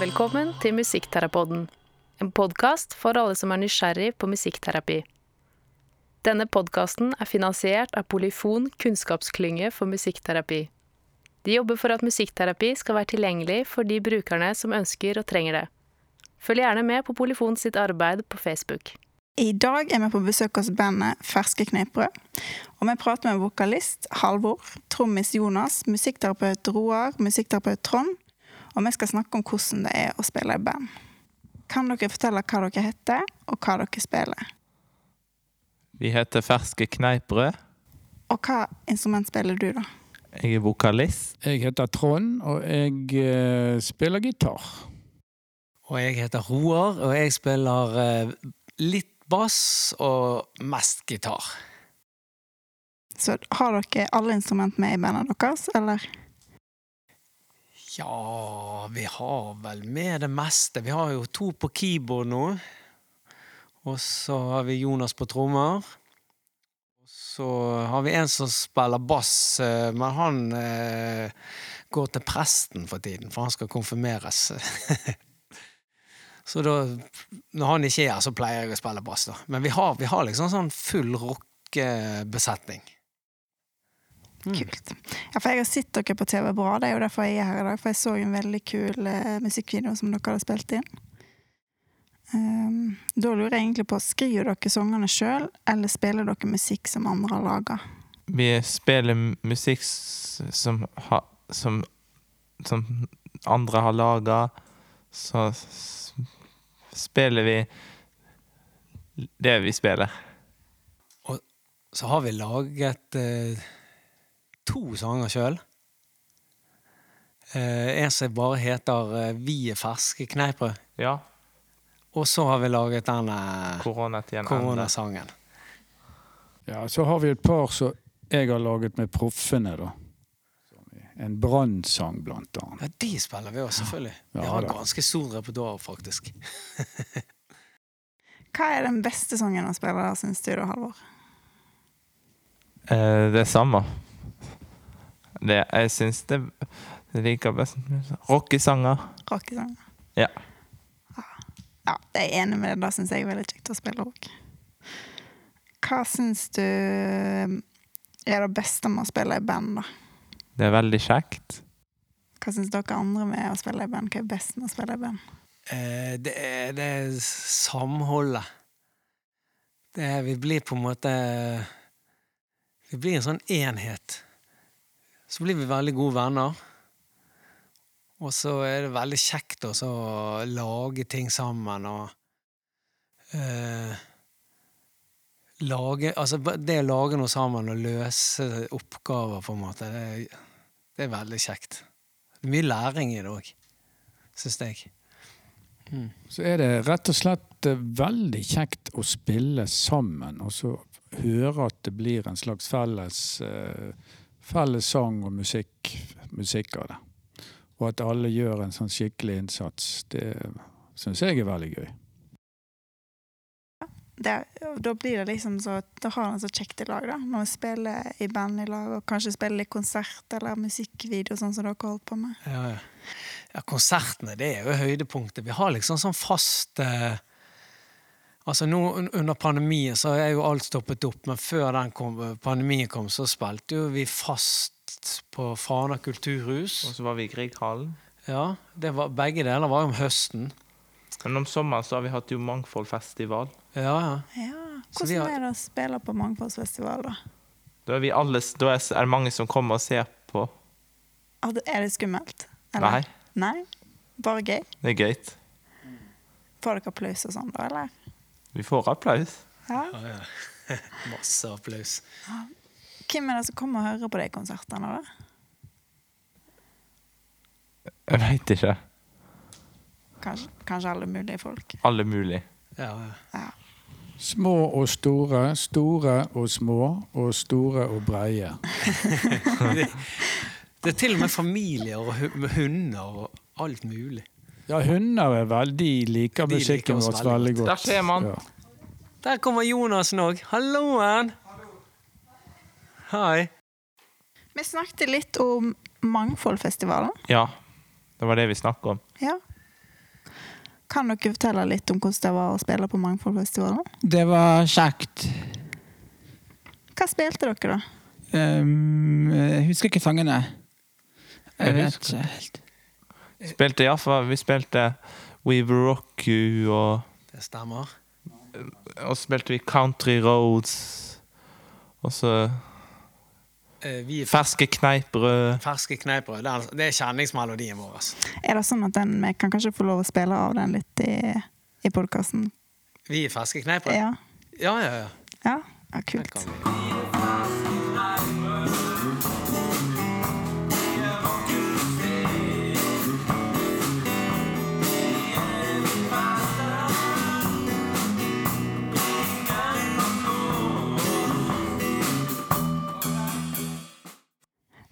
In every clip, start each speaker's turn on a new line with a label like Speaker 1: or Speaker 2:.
Speaker 1: Velkommen til Musikkterapoden, en podkast for alle som er nysgjerrig på musikkterapi. Denne podkasten er finansiert av Polifon kunnskapsklynge for musikkterapi. De jobber for at musikkterapi skal være tilgjengelig for de brukerne som ønsker og trenger det. Følg gjerne med på Polifon sitt arbeid på Facebook.
Speaker 2: I dag er vi på besøk hos bandet Ferske kneippbrød. Og vi prater med vokalist Halvor, trommis Jonas, musikkterapeut Roar, musikkterapeut Trond. Og vi skal snakke om hvordan det er å spille i band. Kan dere fortelle hva dere heter, og hva dere spiller?
Speaker 3: Vi heter Ferske kneippbrød.
Speaker 2: Og hva instrument spiller du, da?
Speaker 3: Jeg er vokalist.
Speaker 4: Jeg heter Trond, og jeg eh, spiller gitar.
Speaker 5: Og jeg heter Roar, og jeg spiller eh, litt bass og mest gitar.
Speaker 2: Så har dere alle instrument med i bandet deres, eller?
Speaker 5: Ja, vi har vel med det meste. Vi har jo to på keyboard nå. Og så har vi Jonas på trommer. Og så har vi en som spiller bass, eh, men han eh, går til presten for tiden, for han skal konfirmeres. så da, når han ikke er her, så pleier jeg å spille bass, da. Men vi har, vi har liksom sånn full rockebesetning. Mm.
Speaker 2: Kult. Ja, for jeg har sett dere på TV bra, det er jo derfor jeg er her i dag. For jeg så jo en veldig kul eh, musikkvideo som dere hadde spilt inn. Ehm, da lurer jeg egentlig på, skriver dere sangene sjøl, eller spiller dere musikk som andre har laga?
Speaker 3: Vi spiller musikk s- som, ha, som, som andre har laga. Så s- spiller vi det vi spiller.
Speaker 5: så har vi laget eh, to sanger sjøl. Eh, en som bare heter eh, 'Vi er ferske kneippbrød'.
Speaker 3: Ja.
Speaker 5: Og så har vi laget denne
Speaker 3: Koronatiden ender.
Speaker 5: koronasangen.
Speaker 4: Ja, så har vi et par som jeg har laget med proffene, da. En brannsang, blant annet.
Speaker 5: Ja, de spiller vi også, selvfølgelig. Vi
Speaker 4: Ja,
Speaker 5: har
Speaker 4: da.
Speaker 5: ganske stor repertoar, faktisk.
Speaker 2: Hva er den beste sangen å spille der, syns du da, Halvor?
Speaker 3: Eh, det samme. Det, jeg syns det jeg liker best Rockesanger.
Speaker 2: Rockesang?
Speaker 3: Ja.
Speaker 2: Ja, jeg er enig med deg. Da syns jeg det er veldig kjekt å spille rock. Hva syns du ehm, er det beste med å spille i band, da?
Speaker 3: Det er veldig kjekt.
Speaker 2: Hva syns dere andre med å spille i band? Hva er best med å spille i band?
Speaker 5: Eh, det, er, det er samholdet. Det er, vi blir på en måte Vi blir en sånn enhet. Så blir vi veldig gode venner. Og så er det veldig kjekt også å lage ting sammen og eh, Lage Altså, ba- det å lage noe sammen og løse oppgaver, på en måte, det, er- det er veldig kjekt. Det er mye læring i det òg, syns jeg.
Speaker 4: Så er det rett og slett eh, veldig kjekt å spille sammen, og så høre at det blir en slags felles, eh, felles sang og musikk, musikk av det. Og at alle gjør en sånn skikkelig innsats. Det syns jeg er veldig gøy.
Speaker 2: Det, da blir det liksom så Da har man så kjekt i lag, da. Når vi spiller i band i lag, og kanskje spiller litt konsert eller musikkvideo, sånn som dere holdt på med.
Speaker 5: Ja, ja. ja, konsertene det er jo høydepunktet. Vi har liksom sånn fast eh, Altså nå un- Under pandemien så er jo alt stoppet opp, men før den kom, pandemien kom, så spilte jo vi fast på Fana
Speaker 3: Og
Speaker 5: kulturhus.
Speaker 3: så var vi i Grieghallen.
Speaker 5: Ja, det var, Begge deler var jo om høsten.
Speaker 3: Men om sommeren så har vi hatt jo Mangfoldfestival.
Speaker 5: Ja, ja.
Speaker 2: Ja,
Speaker 5: Så vi
Speaker 2: Hvordan
Speaker 5: har-
Speaker 2: er det å spille på Mangfoldsfestival, da?
Speaker 3: Da er, vi alle, s- da er s- er det mange som kommer og ser på.
Speaker 2: Er det- Er det skummelt?
Speaker 3: Nei,
Speaker 2: Nei? Bare gøy?
Speaker 3: det er gøy.
Speaker 2: Får dere applaus og sånn, da, eller?
Speaker 3: Vi får applaus.
Speaker 2: Ja.
Speaker 5: ja, ja. Masse applaus.
Speaker 2: Hvem er det som kommer og hører på de konsertene, da?
Speaker 3: Jeg veit ikke.
Speaker 2: Kanskje, kanskje alle mulige folk.
Speaker 3: Alle mulig.
Speaker 5: Ja, ja.
Speaker 2: Ja.
Speaker 4: Små og store, store og små, og store og breie.
Speaker 5: Det, det er til og med familier og hu- med hunder og alt mulig.
Speaker 4: Ja, hunder er veldig De liker
Speaker 5: De liker
Speaker 4: musikken
Speaker 5: oss
Speaker 4: vår
Speaker 5: veldig
Speaker 4: veldig godt.
Speaker 3: Der ser man.
Speaker 4: Ja.
Speaker 5: Der kommer Jonasen òg. Halloen! Hei.
Speaker 2: Vi snakket litt om Mangfoldfestivalen.
Speaker 3: Ja, det var det vi snakka om.
Speaker 2: Ja. Kan dere fortelle litt om hvordan det var å spille på Mangfoldfestivalen?
Speaker 6: Det var kjekt.
Speaker 2: Hva spilte dere, da?
Speaker 6: Ehm, jeg husker ikke sangene. Jeg
Speaker 3: Jeg
Speaker 6: vet
Speaker 3: husker.
Speaker 6: ikke helt.
Speaker 3: Spilte iallfall Vi spilte We Will Rock You, og,
Speaker 5: Det stemmer.
Speaker 3: og så spilte vi Country Roads. Og så
Speaker 5: Eh, Vi er
Speaker 3: Ferske kneippbrød.
Speaker 5: ferske kneippbrød. Det er- altså- Det er kjenningsmelodien vår. altså. ass.
Speaker 2: Er det sånn at den, vi kan kanskje få lov å spille av den litt i, i podkasten?
Speaker 5: Vi er ferske kneippbrød.
Speaker 2: Ja.
Speaker 5: Ja, ja, ja.
Speaker 2: ja? Ja,
Speaker 5: Det
Speaker 2: kult.
Speaker 5: kan vi.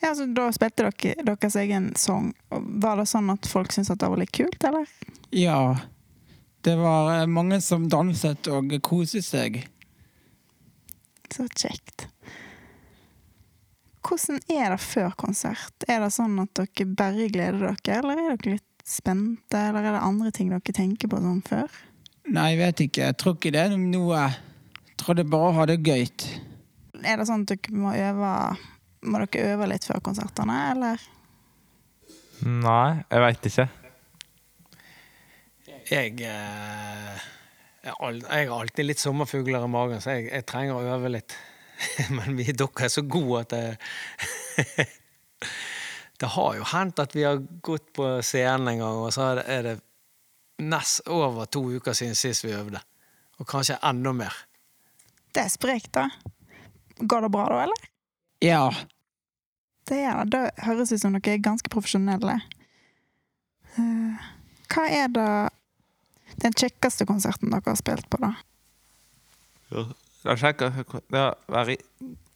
Speaker 2: Ja, så Da spilte dere deres egen sang. Og Var det sånn at folk syntes at det var litt kult, eller?
Speaker 6: Ja. Det var eh, mange som danset og koset seg.
Speaker 2: Så kjekt. Hvordan er det før konsert? Er det sånn at dere bare gleder dere, eller er dere litt spente, eller er det andre ting dere tenker på sånn før?
Speaker 6: Nei, jeg vet ikke. Jeg tror ikke det er noe. Jeg tror det bare å ha det gøy.
Speaker 2: Er det sånn at dere må øve Må dere øve litt før konsertene, eller?
Speaker 3: Nei, jeg veit ikke.
Speaker 5: Jeg, eh, jeg har al- jeg har alltid litt sommerfugler i magen, så jeg, jeg trenger å øve litt. Men vi dere er så gode at det Det har jo hendt at vi har gått på scenen en gang, og så er det, er det nest over to uker siden sist vi øvde. Og kanskje enda mer.
Speaker 2: Det er sprekt, da. Går det bra da, eller?
Speaker 6: Ja.
Speaker 2: Det gjør det. Det høres ut som dere er ganske profesjonelle. Eh, hva er det den kjekkeste konserten dere har spilt på, da?
Speaker 3: Det er kjekt å det er å være i,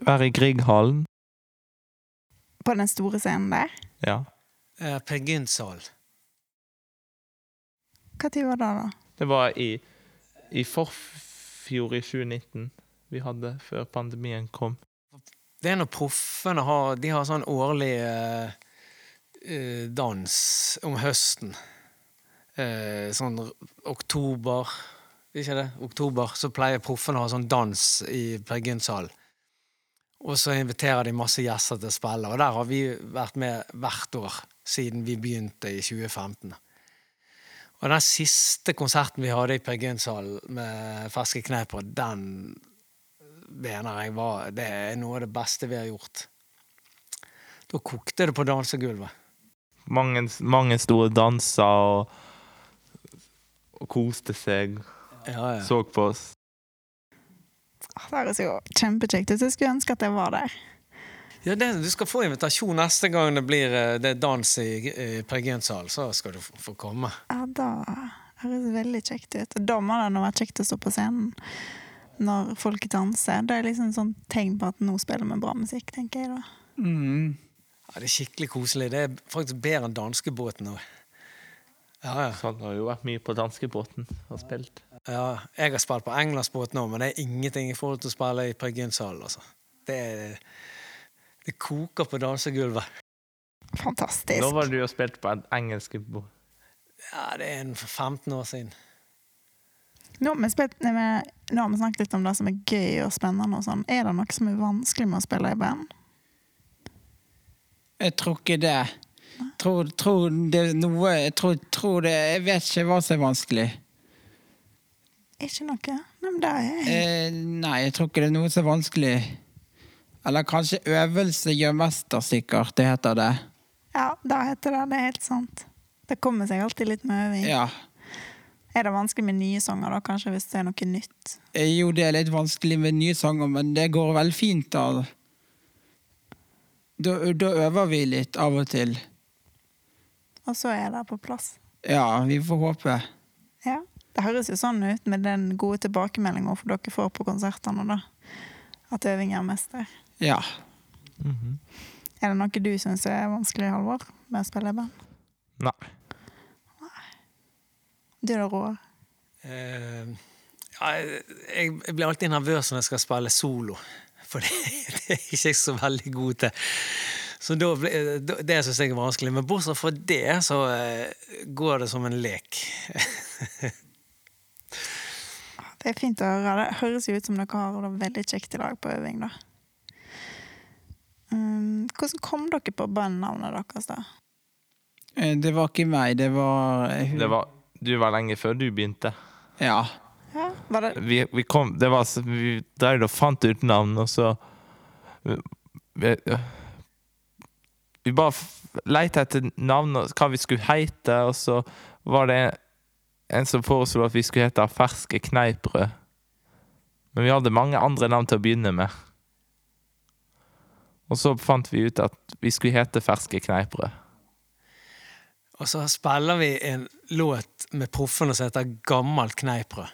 Speaker 3: være i Grieghallen.
Speaker 2: På den store scenen der?
Speaker 3: Ja.
Speaker 5: Eh, Per Gynt-sal.
Speaker 2: Hva tid var det, da?
Speaker 3: Det var i, i forfjor i 2019 vi hadde, før pandemien kom.
Speaker 5: Det er når proffene har De har sånn årlig eh, eh, dans om høsten. Eh, sånn r- oktober Ikke det? Oktober. Så pleier proffene å ha sånn dans i Per Gynt-salen. Og så inviterer de masse gjester til å spille, og der har vi vært med hvert år siden vi begynte i 2015. Og den siste konserten vi hadde i Per Gynt-salen med Ferske Kneiper, den mener jeg var Det er noe av det beste vi har gjort. Da kokte det på dansegulvet.
Speaker 3: Mange, mange store danser og, og koste seg.
Speaker 5: Ja,
Speaker 3: Så på oss.
Speaker 2: Åh, Det høres jo kjempekjekt ut. Jeg skulle ønske at jeg var der.
Speaker 5: det, du skal få invitasjon neste gang det blir eh, det er dans i, i Per Gynt-salen. Så skal du få- få komme.
Speaker 2: Ja, da høres veldig kjekt ut. Da må det nå være kjekt å stå på scenen når folk danser. Det er liksom sånn tegn på at nå spiller vi bra musikk, tenker jeg da.
Speaker 6: Mm.
Speaker 5: Ja, det er skikkelig koselig. Det er faktisk bedre enn danskebåten òg. Ja, ja.
Speaker 3: Han har jo vært mye på danskebåten og spilt.
Speaker 5: ja. Jeg har spilt på Englandsbåten òg, men det er ingenting i forhold til å spille i Per Gynt-salen. Altså. Det, er- det koker på dansegulvet.
Speaker 2: Fantastisk.
Speaker 3: Nå var du jo spilt på en engelsk båt.
Speaker 5: Ja, det er en 15 år siden.
Speaker 2: Nå har vi spilt- nei, men nå har vi snakket litt om det som er gøy og spennende og sånn. Er det noe som er vanskelig med å spille i band?
Speaker 6: Jeg tror ikke det. Tror, tror det er noe jeg, tror, tror det, jeg vet ikke hva som er vanskelig.
Speaker 2: Ikke noe? Nei, men det er
Speaker 6: Eh, nei, jeg tror ikke det er noe som er vanskelig. Eller kanskje øvelse gjør mester, sikkert. Det heter det.
Speaker 2: Ja, det heter det. Det er helt sant. Det kommer seg alltid litt med øving.
Speaker 6: Ja.
Speaker 2: Er det vanskelig med nye sanger da, kanskje, hvis det er noe nytt?
Speaker 6: Eh, Jo, det er litt vanskelig med nye sanger, men det går vel fint, da. Da, da øver vi litt av og til.
Speaker 2: Og så er det på plass.
Speaker 6: Ja, vi får håpe.
Speaker 2: Ja, det høres jo sånn ut med den gode tilbakemeldinga dere får på konsertene, da. At øving er mester.
Speaker 6: Ja.
Speaker 2: Er det noe du syns er vanskelig, Halvor, med å spille i band?
Speaker 3: Nei.
Speaker 2: Nei. Du da, Roar?
Speaker 5: Eh, ja, jeg, jeg blir alltid nervøs når jeg skal spille solo, for det, det er jeg ikke så veldig god til. Så da ble, da- det syns jeg er vanskelig. Men bortsett fra det, så eh, går det som en lek.
Speaker 2: Det er fint å høre. Det høres jo ut som dere har det veldig kjekt i dag på øving, da. Um, hvordan kom dere på bandnavnet deres, da?
Speaker 6: Eh, Det var ikke meg, det var eh, hun.
Speaker 3: Det var, du var lenge før du begynte.
Speaker 6: Ja.
Speaker 2: Ja, var det,
Speaker 3: Vi, vi kom Det var så- Vi drev og fant ut navn, og så Vi, vi bare f- lette etter navn og hva vi skulle hete, og så var det en som foreslo at vi skulle hete Ferske kneippbrød. Men vi hadde mange andre navn til å begynne med. Og så fant vi ut at vi skulle hete Ferske kneippbrød.
Speaker 5: Og så spiller vi en låt med proffene som heter Gammelt kneippbrød.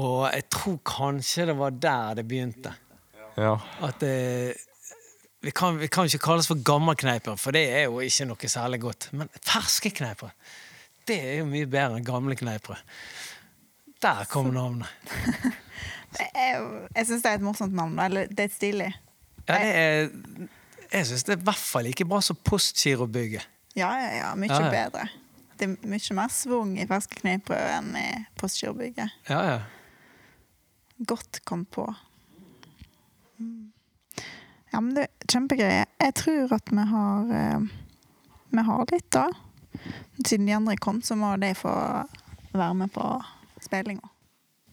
Speaker 5: Og jeg tror kanskje det var der det begynte.
Speaker 3: Ja.
Speaker 5: At eh, vi, kan, vi kan ikke kalles for gammel kneiper, for det er jo ikke noe særlig godt. Men ferske kneiper, det er jo mye bedre enn gamle kneiper. Der kom navnet.
Speaker 2: det er jo- jeg syns det er et morsomt navn, da. Eller det er et stilig.
Speaker 5: Ja, det er, jeg syns det er i hvert fall like bra som Postgirobygget.
Speaker 2: Ja, ja, ja. Mye
Speaker 5: Ja, ja.
Speaker 2: bedre. Det er mye mer svung i ferske kneippbrød enn i Postgirobygget.
Speaker 5: Ja, ja.
Speaker 2: Godt kom på. Mm. Ja, men det er kjempegreie. Jeg tror at vi har eh, Vi har litt, da. Siden de andre kom, så må de få være med på spillinga.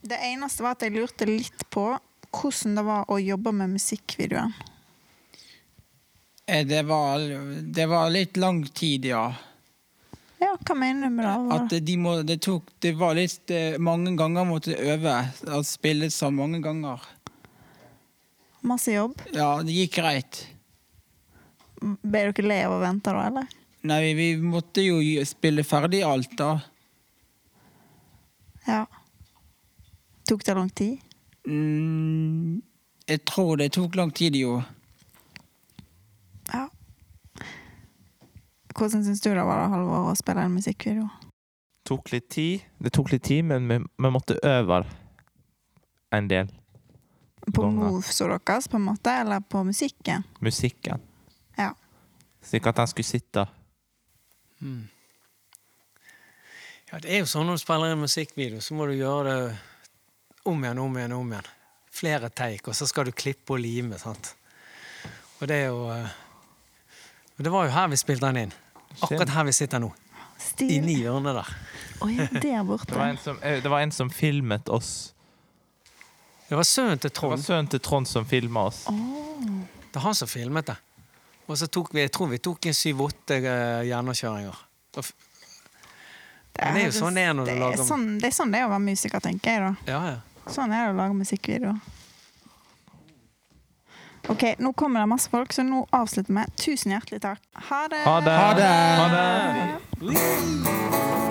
Speaker 2: Det eneste var at jeg lurte litt på hvordan det var å jobbe med musikkvideoen.
Speaker 6: Eh, Det var, det var litt lang tid, ja.
Speaker 2: Ja, hva mener du med det? Var
Speaker 6: At eh,
Speaker 2: det?
Speaker 6: de må, det tok Det var litt eh, Mange ganger måtte jeg øve. At spille så mange ganger.
Speaker 2: Masse jobb?
Speaker 6: Ja, det gikk greit.
Speaker 2: Ble dere le av å vente da, eller?
Speaker 6: Nei, vi måtte jo spille ferdig alt, da.
Speaker 2: Ja. Tok det lang tid?
Speaker 6: Mm, jeg tror det tok lang tid, jo.
Speaker 2: Ja. Hvordan syns du det var, da, Halvor, å spille en musikkvideo?
Speaker 3: tok litt tid. Det tok litt tid, men vi, vi måtte øve en del.
Speaker 2: På
Speaker 3: Ganger.
Speaker 2: moves og deres, på en måte, eller på musikken?
Speaker 3: musikken.
Speaker 2: Ja.
Speaker 3: Slik at den skulle sitte.
Speaker 5: Mm. Ja, det er jo sånn når du spiller en musikkvideo, så må du gjøre det om igjen, om igjen, om igjen. Flere take, og så skal du klippe og lime, sant. Og det er jo eh, og Det var jo her vi spilte den inn. Akkurat her vi sitter nå.
Speaker 2: Stil.
Speaker 5: Inni hjørnet der.
Speaker 2: Å ja, der
Speaker 3: Det var
Speaker 2: borte.
Speaker 3: en som, eh, det var en som filmet oss.
Speaker 5: Det var sønnen til
Speaker 3: Det var
Speaker 5: Trond.
Speaker 3: sønnen til Trond som filma oss.
Speaker 5: Det er han som filmet det. Og så tok vi, jeg tror vi tok en syv-åtte eh, gjennomkjøringer. Og f- Men det er jo sånn det er når du
Speaker 2: det
Speaker 5: lager-
Speaker 2: er sånn, Det er sånn det er å være musiker, tenker jeg, da.
Speaker 5: Ja, ja.
Speaker 2: Sånn er det å lage musikkvideoer. OK, nå kommer det masse folk, så nå avslutter vi. Tusen hjertelig takk. Ha det!
Speaker 3: Ha det!
Speaker 6: Ha det!
Speaker 3: Ha det!